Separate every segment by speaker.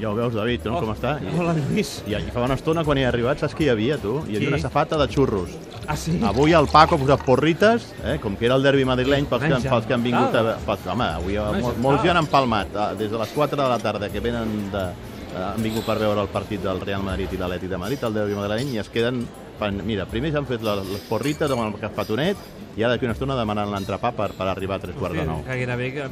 Speaker 1: Ja ho veus, David, no?
Speaker 2: Oh,
Speaker 1: com està? I,
Speaker 2: Hola, Lluís.
Speaker 1: I, I fa una estona, quan hi he arribat, saps qui hi havia, tu? Hi havia
Speaker 2: Qui?
Speaker 1: una safata de xurros.
Speaker 2: Ah, sí?
Speaker 1: Avui el Paco ha posat porrites, eh? com que era el derbi madrileny, pels que,
Speaker 2: Menja
Speaker 1: pels que han vingut...
Speaker 2: tal.
Speaker 1: A, pels, home, avui
Speaker 2: Menja
Speaker 1: mol,
Speaker 2: tal.
Speaker 1: molts ja n'han palmat, eh, des de les 4 de la tarda, que venen de, eh, han vingut per veure el partit del Real Madrid i l'Atleti de Madrid, el derbi madrileny, i es queden... Fan, mira, primer s'han fet les, les porrites amb el cafetonet i ara d'aquí una estona demanant l'entrepà per, per arribar a tres quarts de nou.
Speaker 2: Gairebé que,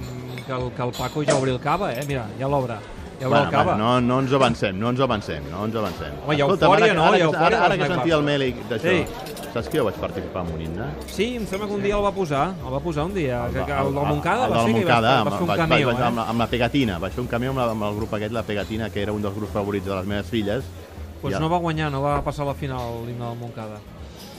Speaker 2: que, el, que el Paco ja obri el cava, eh? Mira, ja l'obre. Ja obre el cava.
Speaker 1: va, no, no ens avancem, no ens avancem, no ens avancem.
Speaker 2: Home, hi ha eufòria,
Speaker 1: ara, que-
Speaker 2: no? Hi ha
Speaker 1: Ara, que- ara,
Speaker 2: eufòria
Speaker 1: ara
Speaker 2: dels
Speaker 1: que
Speaker 2: Night
Speaker 1: sentia el
Speaker 2: Club.
Speaker 1: mèlic d'això,
Speaker 2: Sí.
Speaker 1: saps que jo vaig participar en un himne?
Speaker 2: Sí, em sembla que un dia el va posar. El va posar un dia. El, que, que el del Moncada
Speaker 1: el
Speaker 2: va
Speaker 1: del
Speaker 2: ser que hi va,
Speaker 1: Montcada,
Speaker 2: va fer un
Speaker 1: vaig-
Speaker 2: camió,
Speaker 1: vaig, vaig, amb,
Speaker 2: eh?
Speaker 1: la, amb la pegatina, vaig fer un camió amb, la, amb el grup aquest, la pegatina, que era un dels grups favorits de les meves filles.
Speaker 2: Doncs no va guanyar, no va passar a la final l'himne del Moncada.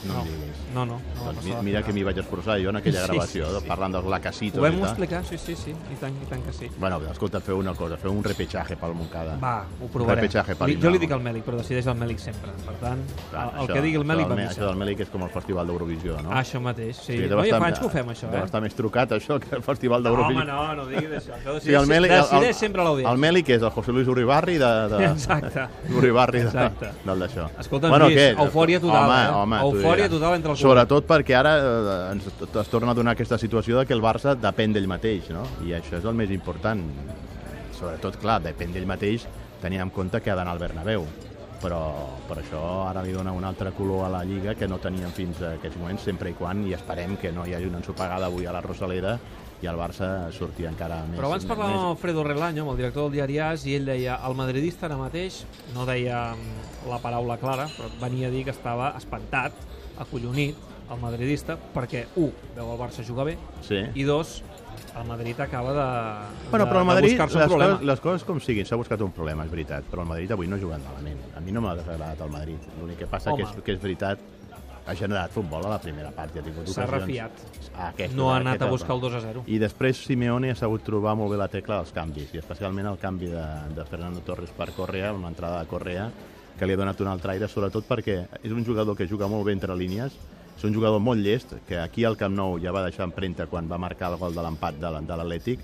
Speaker 1: No,
Speaker 2: no.
Speaker 1: em diguis.
Speaker 2: No, no, no va
Speaker 1: Doncs mi-
Speaker 2: passar a la
Speaker 1: mira
Speaker 2: final.
Speaker 1: que m'hi vaig esforçar jo en aquella
Speaker 2: Sí,
Speaker 1: gravació,
Speaker 2: sí, sí.
Speaker 1: parlant dels lacacitos
Speaker 2: Ho vam
Speaker 1: i tal.
Speaker 2: explicar, sí, sí, sí, i tant, i tant que sí.
Speaker 1: Bueno, escolta, feu una cosa, feu un repetxatge pel Montcada.
Speaker 2: Va, ho provarem.
Speaker 1: Repetxatge per
Speaker 2: Li,
Speaker 1: l'himne
Speaker 2: jo
Speaker 1: del
Speaker 2: li dic al Mèlic, però decideix el Mèlic sempre. Per tant,
Speaker 1: Clar,
Speaker 2: el, el que digui el Mèlic va
Speaker 1: això del,
Speaker 2: missa.
Speaker 1: això del Mèlic és com el Festival d'Eurovisió, no?
Speaker 2: Ah, això mateix, sí.
Speaker 1: deu
Speaker 2: no, ja
Speaker 1: estar-
Speaker 2: fa anys que ho fem, això,
Speaker 1: Deu
Speaker 2: eh?
Speaker 1: estar més trucat, això, que el Festival
Speaker 2: No,
Speaker 1: d'Eurovisió.
Speaker 2: home, no, no diguis això. Això
Speaker 1: Sí, el Meli,
Speaker 2: decideix
Speaker 1: el, el,
Speaker 2: sempre l'audiència.
Speaker 1: El Meli, que és el José Luis Uribarri de... de...
Speaker 2: Exacte.
Speaker 1: Uribarri de,
Speaker 2: Exacte.
Speaker 1: del d'això.
Speaker 2: Escolta, Lluís, eufòria total,
Speaker 1: home,
Speaker 2: eh?
Speaker 1: Home, t'ho
Speaker 2: Eufòria
Speaker 1: diré.
Speaker 2: total entre el públic.
Speaker 1: Sobretot perquè ara eh, ens, es torna a donar aquesta situació de que el Barça depèn d'ell mateix, no? I això és el més important. Sobretot, clar, depèn d'ell mateix, tenint en compte que ha d'anar al Bernabéu. Però, però això ara li dona un altre color a la Lliga que no teníem fins a aquests moments, sempre i quan, i esperem que no hi hagi una ensopegada avui a la Rosaleda i el Barça sortir encara més...
Speaker 2: Però abans parlàvem
Speaker 1: més-
Speaker 2: amb Alfredo Relaño, amb el director del diari AS, i ell deia, el madridista ara mateix, no deia mm, la paraula clara, però venia a dir que estava espantat, acollonit, el madridista, perquè, un, veu el Barça jugar bé,
Speaker 1: Sí.
Speaker 2: i dos, el Madrid acaba de,
Speaker 1: Bueno,
Speaker 2: de,
Speaker 1: però el
Speaker 2: de
Speaker 1: Madrid, les
Speaker 2: buscar-se un problema.
Speaker 1: coses, les coses com siguin, s'ha buscat un problema, és veritat, però el Madrid avui no ha jugat malament. A mi no m'ha desagradat el Madrid, l'únic que passa
Speaker 2: Home.
Speaker 1: que és, que és veritat, ha generat futbol a la primera part, ja ha tingut
Speaker 2: S'ha
Speaker 1: ocasions.
Speaker 2: refiat.
Speaker 1: Ah, Aquesta,
Speaker 2: No ha anat
Speaker 1: aquesta-
Speaker 2: a buscar el 2 a 0.
Speaker 1: I després Simeone ha sabut trobar molt bé la tecla dels canvis, i especialment el canvi de, de Fernando Torres per Correa, una entrada de Correa, que li ha donat un altre aire, sobretot perquè és un jugador que juga molt bé entre línies, és un jugador molt llest, que aquí al Camp Nou ja va deixar empremta quan va marcar el gol de l'empat de la- de l'Atlètic,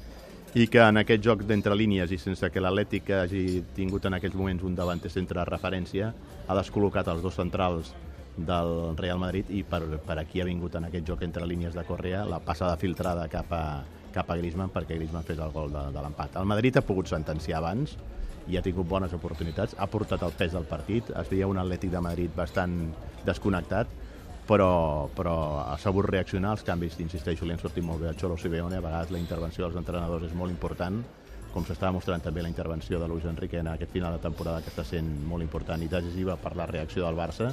Speaker 1: i que en aquests jocs d'entre línies i sense que l'Atlètic hagi tingut en aquests moments un davanter centre de referència, ha descol·locat els dos centrals del Real Madrid i per, per aquí ha vingut en aquest joc entre línies de Correa la passada filtrada cap a, cap a Griezmann perquè Griezmann fes el gol de, de l'empat. El Madrid ha pogut sentenciar abans i ha tingut bones oportunitats, ha portat el pes del partit, es veia un Atlètic de Madrid bastant desconnectat, però, però ha sabut reaccionar als canvis, insisteixo, li han sortit molt bé al Xolo Simeone, a vegades la intervenció dels entrenadors és molt important, com s'està mostrant també la intervenció de Luis Enrique en aquest final de temporada que està sent molt important i decisiva per la reacció del Barça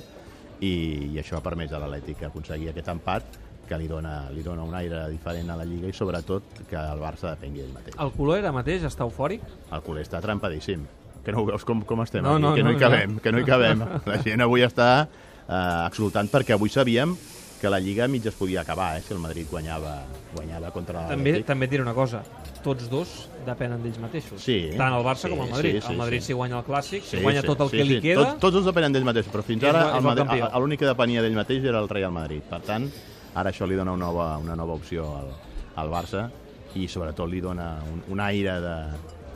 Speaker 1: i, i això ha permès a l'Atlètic aconseguir aquest empat que li dona, li dona un aire diferent a la Lliga i sobretot que el Barça depengui d'ell mateix.
Speaker 2: El color ara mateix està eufòric?
Speaker 1: El culer està trampadíssim. Que no ho veus com, com estem
Speaker 2: No,
Speaker 1: aquí,
Speaker 2: no,
Speaker 1: que no,
Speaker 2: no,
Speaker 1: hi cabem, que no hi cabem. La gent avui està eh, exultant perquè avui sabíem que la Lliga a mig es podia acabar, eh, si el Madrid guanyava, guanyava contra
Speaker 2: També,
Speaker 1: l'Atlètic.
Speaker 2: també et diré una cosa, tots dos depenen d'ells mateixos.
Speaker 1: Sí.
Speaker 2: Tant el Barça
Speaker 1: Sí,
Speaker 2: com el Madrid.
Speaker 1: sí, sí,
Speaker 2: el Madrid
Speaker 1: sí.
Speaker 2: si guanya el Clàssic, si guanya tot el que li
Speaker 1: sí.
Speaker 2: queda...
Speaker 1: Tots, tots els depenen d'ell mateix, però fins
Speaker 2: És
Speaker 1: ara
Speaker 2: la- és
Speaker 1: el
Speaker 2: el
Speaker 1: Madrid-
Speaker 2: campió.
Speaker 1: a- l'únic que depenia d'ell mateix era el Real Madrid. Per tant, ara això li dona una nova, una nova opció al, al Barça i sobretot li dona un, un aire de,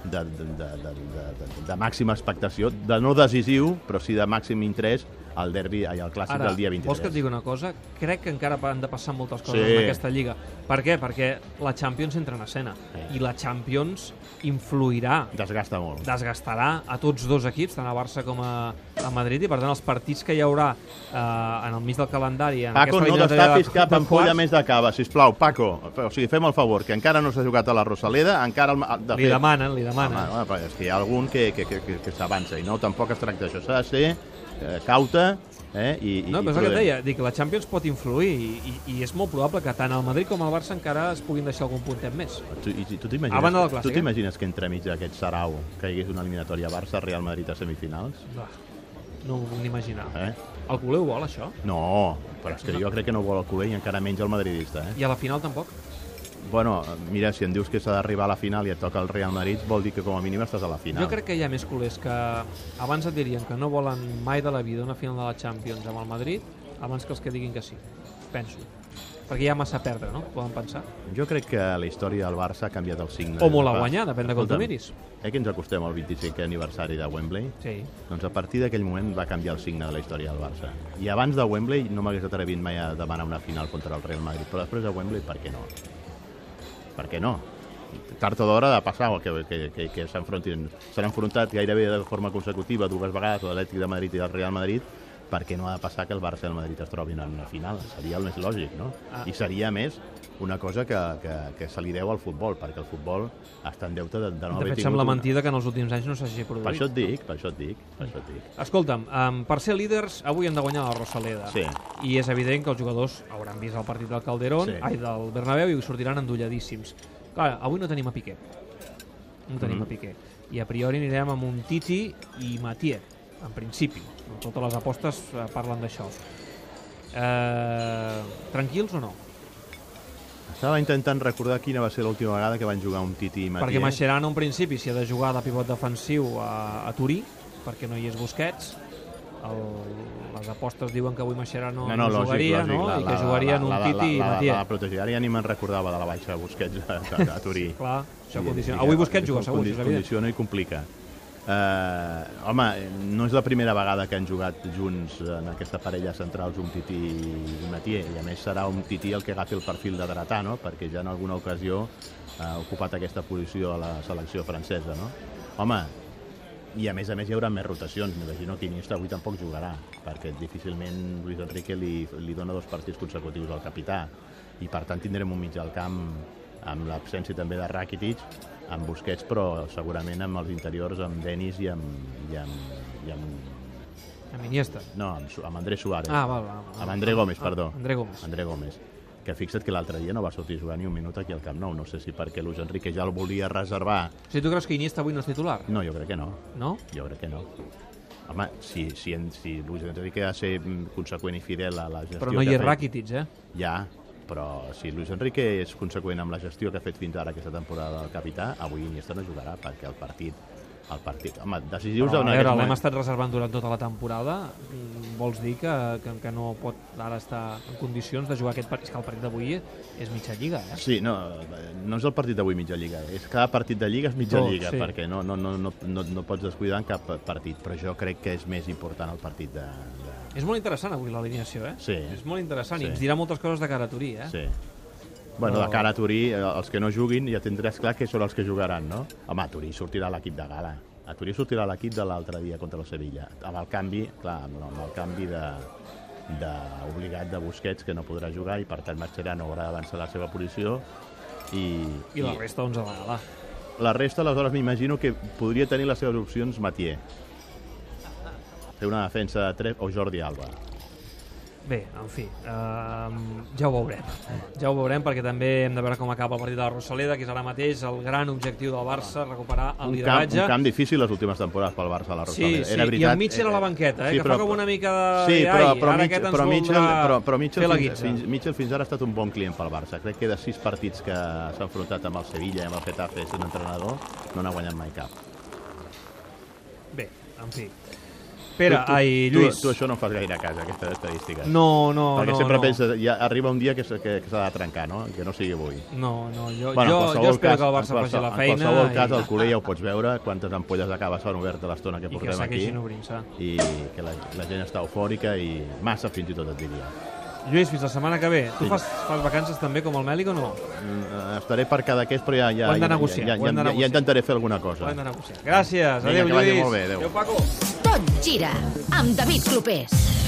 Speaker 1: de, de, de, de, de, de, de màxima expectació, de no decisiu, però sí de màxim interès al derbi i al clàssic
Speaker 2: Ara,
Speaker 1: del dia
Speaker 2: vols que
Speaker 1: 23.
Speaker 2: et digui una cosa? Crec que encara han de passar moltes coses
Speaker 1: Sí.
Speaker 2: en aquesta Lliga. Per què? Perquè la Champions entra en escena
Speaker 1: Sí.
Speaker 2: i la Champions influirà,
Speaker 1: Desgasta molt.
Speaker 2: desgastarà a tots dos equips, tant a Barça com a, a Madrid, i per tant els partits que hi haurà eh, en el mig del calendari... En
Speaker 1: Paco,
Speaker 2: aquesta
Speaker 1: no
Speaker 2: eliminatòria de-
Speaker 1: destapis cap
Speaker 2: de
Speaker 1: ampolla
Speaker 2: quarts,
Speaker 1: més de cava, sisplau. Paco, o sigui, fem el favor, que encara no s'ha jugat a la Rosaleda, encara... El, de
Speaker 2: Li
Speaker 1: fet,
Speaker 2: demanen, li
Speaker 1: Home,
Speaker 2: demanen.
Speaker 1: home, però és que hi ha algun que, que, que, que, que s'avança i no, tampoc es tracta d'això. S'ha de ser eh, cauta eh, i, i,
Speaker 2: No,
Speaker 1: i
Speaker 2: però és el que et
Speaker 1: prudent.
Speaker 2: deia, dic, la Champions pot influir i, i, i és molt probable que tant el Madrid com el Barça encara es puguin deixar algun puntet més.
Speaker 1: Tu, i, tu
Speaker 2: A banda del
Speaker 1: t'imagines tu
Speaker 2: clàssic, eh?
Speaker 1: t'imagines que entremig d'aquest sarau que hi hagués una eliminatòria Barça-Real Madrid a semifinals?
Speaker 2: Bah, No ho puc ni imaginar.
Speaker 1: Eh?
Speaker 2: El culer ho vol, això?
Speaker 1: No, però és que jo crec que no ho vol el culer i encara menys el madridista. Eh?
Speaker 2: I a la final tampoc?
Speaker 1: Bueno, mira, si em dius que s'ha d'arribar a la final i et toca el Real Madrid, vol dir que com a mínim estàs a la final.
Speaker 2: Jo crec que hi ha més culers que abans et dirien que no volen mai de la vida una final de la Champions amb el Madrid abans que els que diguin que sí. Penso. Perquè hi ha massa a perdre, no? Poden pensar.
Speaker 1: Jo crec que la història del Barça ha canviat el signe.
Speaker 2: O molt a guanyar, depèn de com tu
Speaker 1: Eh, Escolta'm,
Speaker 2: miris.
Speaker 1: Eh que ens acostem al 25è aniversari de Wembley?
Speaker 2: Sí.
Speaker 1: Doncs a partir d'aquell moment va canviar el signe de la història del Barça. I abans de Wembley no m'hagués atrevit mai a demanar una final contra el Real Madrid, però després de Wembley, per què no? Per què no? Tard o d'hora ha de passar que, que, que, que s'enfrontin. S'han enfrontat gairebé de forma consecutiva dues vegades l'Atlètic de Madrid i el Real Madrid, per què no ha de passar que el Barça i el Madrid es trobin en una final? Seria el més lògic, no?
Speaker 2: Ah.
Speaker 1: I seria, a més, una cosa que, que, que se li deu al futbol, perquè el futbol està en deute de, de
Speaker 2: No
Speaker 1: no
Speaker 2: de
Speaker 1: haver
Speaker 2: fet,
Speaker 1: tingut...
Speaker 2: sembla
Speaker 1: una-
Speaker 2: mentida que en els últims anys no s'hagi produït.
Speaker 1: Per això et dic, per això et dic, per això et dic.
Speaker 2: Escolta'm, um, per ser líders, avui hem de guanyar la Rosaleda.
Speaker 1: Sí.
Speaker 2: I és evident que els jugadors hauran vist el partit del Calderón,
Speaker 1: Sí.
Speaker 2: ai, del Bernabéu, i sortiran endolladíssims. Clar, avui no tenim a Piqué. No tenim
Speaker 1: Mhm.
Speaker 2: a Piqué. I a priori anirem amb un Titi i Matier, en principi. Totes les apostes eh, parlen d'això. Eh, tranquils o no?
Speaker 1: Estava intentant recordar quina va ser l'última vegada que van jugar un Titi i
Speaker 2: Perquè
Speaker 1: Matier.
Speaker 2: Mascherano en principi s'hi ha de jugar de pivot defensiu a, a Turí, perquè no hi és Busquets. El, les apostes diuen que avui Mascherano no, no, jugaria, no? I que jugaria en un Titi i
Speaker 1: la, la,
Speaker 2: Matier.
Speaker 1: la, la protegida. Ara ja ni me'n recordava de la baixa de Busquets a, a, a Turí.
Speaker 2: Clar, això
Speaker 1: I-
Speaker 2: condiciona.
Speaker 1: i-
Speaker 2: Avui
Speaker 1: i-
Speaker 2: Busquets juga
Speaker 1: condi-
Speaker 2: segur, això és evident.
Speaker 1: Condiciona i complica. Uh, home, no és la primera vegada que han jugat junts en aquesta parella central un Tití i Matier, i a més serà un Tití el que agafi el perfil de dretà, no? perquè ja en alguna ocasió ha ocupat aquesta posició a la selecció francesa. No? Home, i a més a més hi haurà més rotacions, m'imagino que Iniesta avui tampoc jugarà, perquè difícilment Luis Enrique li, li dona dos partits consecutius al capità, i per tant tindrem un mig al camp amb l'absència també de Rakitic, amb Busquets, però segurament amb els interiors, amb Denis i amb... I amb, i amb
Speaker 2: Amb Iniesta.
Speaker 1: no, amb, Su- amb Andrés Suárez.
Speaker 2: Ah, val, val. val.
Speaker 1: Amb André Gómez, perdó.
Speaker 2: Ah, André Gómez.
Speaker 1: André Gómez que fixa't que l'altre dia no va sortir a jugar ni un minut aquí al Camp Nou. No sé si perquè Luis Enrique ja el volia reservar.
Speaker 2: O sigui, tu creus que Iniesta avui no és titular?
Speaker 1: No, jo crec que no.
Speaker 2: No?
Speaker 1: Jo crec que no. Home, si, si, en, si Luis Enrique ha de ser mm, conseqüent i fidel a la gestió
Speaker 2: Però no
Speaker 1: que
Speaker 2: hi
Speaker 1: ha
Speaker 2: és
Speaker 1: fet-
Speaker 2: Rakitic, eh?
Speaker 1: Ja, però si Luis Enrique és conseqüent amb la gestió que ha fet fins ara aquesta temporada del capità, avui Iniesta no jugarà perquè el partit... El partit... Home, decisius
Speaker 2: Però, a
Speaker 1: en
Speaker 2: veure,
Speaker 1: aquest
Speaker 2: l'hem
Speaker 1: moment...
Speaker 2: estat reservant durant tota la temporada. Mm, Vols dir que, que, que no pot ara estar en condicions de jugar aquest partit? És que el partit d'avui és mitja lliga, eh?
Speaker 1: Sí, no, no és el partit d'avui mitja lliga. És cada partit de lliga és mitja
Speaker 2: Tot,
Speaker 1: lliga,
Speaker 2: sí.
Speaker 1: perquè no, no, no, no, no, no pots descuidar en cap partit, però jo crec que és més important el partit de... de...
Speaker 2: És molt interessant avui l'alineació, eh?
Speaker 1: Sí.
Speaker 2: És molt interessant i
Speaker 1: Sí.
Speaker 2: ens dirà moltes coses de cara a Turí, eh?
Speaker 1: Sí. Bueno, de cara a Turí, eh, els que no juguin ja tindràs clar que són els que jugaran, no? Home, a Turí sortirà l'equip de gala. A Turí sortirà l'equip de l'altre dia contra el Sevilla. Amb el canvi, clar, amb amb el canvi de, de obligat de Busquets, que no podrà jugar, i per tant Mascherano haurà d'avançar la seva posició. I,
Speaker 2: I la resta, doncs, a la gala.
Speaker 1: la resta, aleshores, m'imagino que podria tenir les seves opcions Matier. Fer una defensa de 3 o Jordi Alba.
Speaker 2: Bé, en fi, uh, ja ho veurem. Ja ho veurem perquè també hem de veure com acaba el partit de la Rosaleda, que és ara mateix el gran objectiu del Barça, recuperar el
Speaker 1: un camp,
Speaker 2: lideratge.
Speaker 1: un camp difícil les últimes temporades pel Barça a la
Speaker 2: Sí,
Speaker 1: Rosaleda.
Speaker 2: sí,
Speaker 1: era veritat,
Speaker 2: i enmig era la banqueta, eh, que fa com una mica de-
Speaker 1: Sí,
Speaker 2: ai,
Speaker 1: però, però,
Speaker 2: ara
Speaker 1: Mitch-
Speaker 2: aquest ens
Speaker 1: però,
Speaker 2: voldrà
Speaker 1: Mitchell, però, però Mitchell,
Speaker 2: fer la
Speaker 1: fins,
Speaker 2: guitza.
Speaker 1: fins, Mitchell fins ara ha estat un bon client pel Barça. Crec que de sis partits que s'ha enfrontat amb el Sevilla i amb el Getafe sent entrenador, no n'ha guanyat mai cap.
Speaker 2: Bé, en fi. Pere,
Speaker 1: tu,
Speaker 2: ai,
Speaker 1: tu,
Speaker 2: Lluís.
Speaker 1: tu, això no en fas gaire a casa, aquestes estadístiques.
Speaker 2: No, no,
Speaker 1: Perquè
Speaker 2: no.
Speaker 1: sempre
Speaker 2: no.
Speaker 1: penses, ja arriba un dia que, s'ha- que, que s'ha de trencar, no? Que no sigui avui.
Speaker 2: No, no, jo,
Speaker 1: en
Speaker 2: bueno, jo,
Speaker 1: qualsevol
Speaker 2: jo espero
Speaker 1: cas-
Speaker 2: que el
Speaker 1: en
Speaker 2: Barça faci
Speaker 1: qualsevol-
Speaker 2: la feina
Speaker 1: En qualsevol cas,
Speaker 2: i,
Speaker 1: al culer ja ho pots veure, quantes ampolles de cava s'han obert a l'estona que
Speaker 2: i que
Speaker 1: portem aquí.
Speaker 2: segueixin obrint-se.
Speaker 1: I que la, la gent està eufòrica i massa, fins i tot, et diria.
Speaker 2: Lluís, fins la setmana que ve. Tu
Speaker 1: Sí.
Speaker 2: fas, fas vacances també com el Mèlic o no?
Speaker 1: Mm, eh, Estaré per cada aquest, però ja, ja,
Speaker 2: Ho hem de
Speaker 1: ja,
Speaker 2: negociar,
Speaker 1: ja,
Speaker 2: ho hem de
Speaker 1: ja, ja,
Speaker 2: negociar.
Speaker 1: ja intentaré fer alguna cosa.
Speaker 2: Ho hem de negociar. Gràcies.
Speaker 1: Vinga,
Speaker 2: Adéu,
Speaker 1: que vagi
Speaker 2: Lluís.
Speaker 1: molt bé, adéu.
Speaker 2: Adéu, Paco.
Speaker 3: Tot gira amb David Clopés.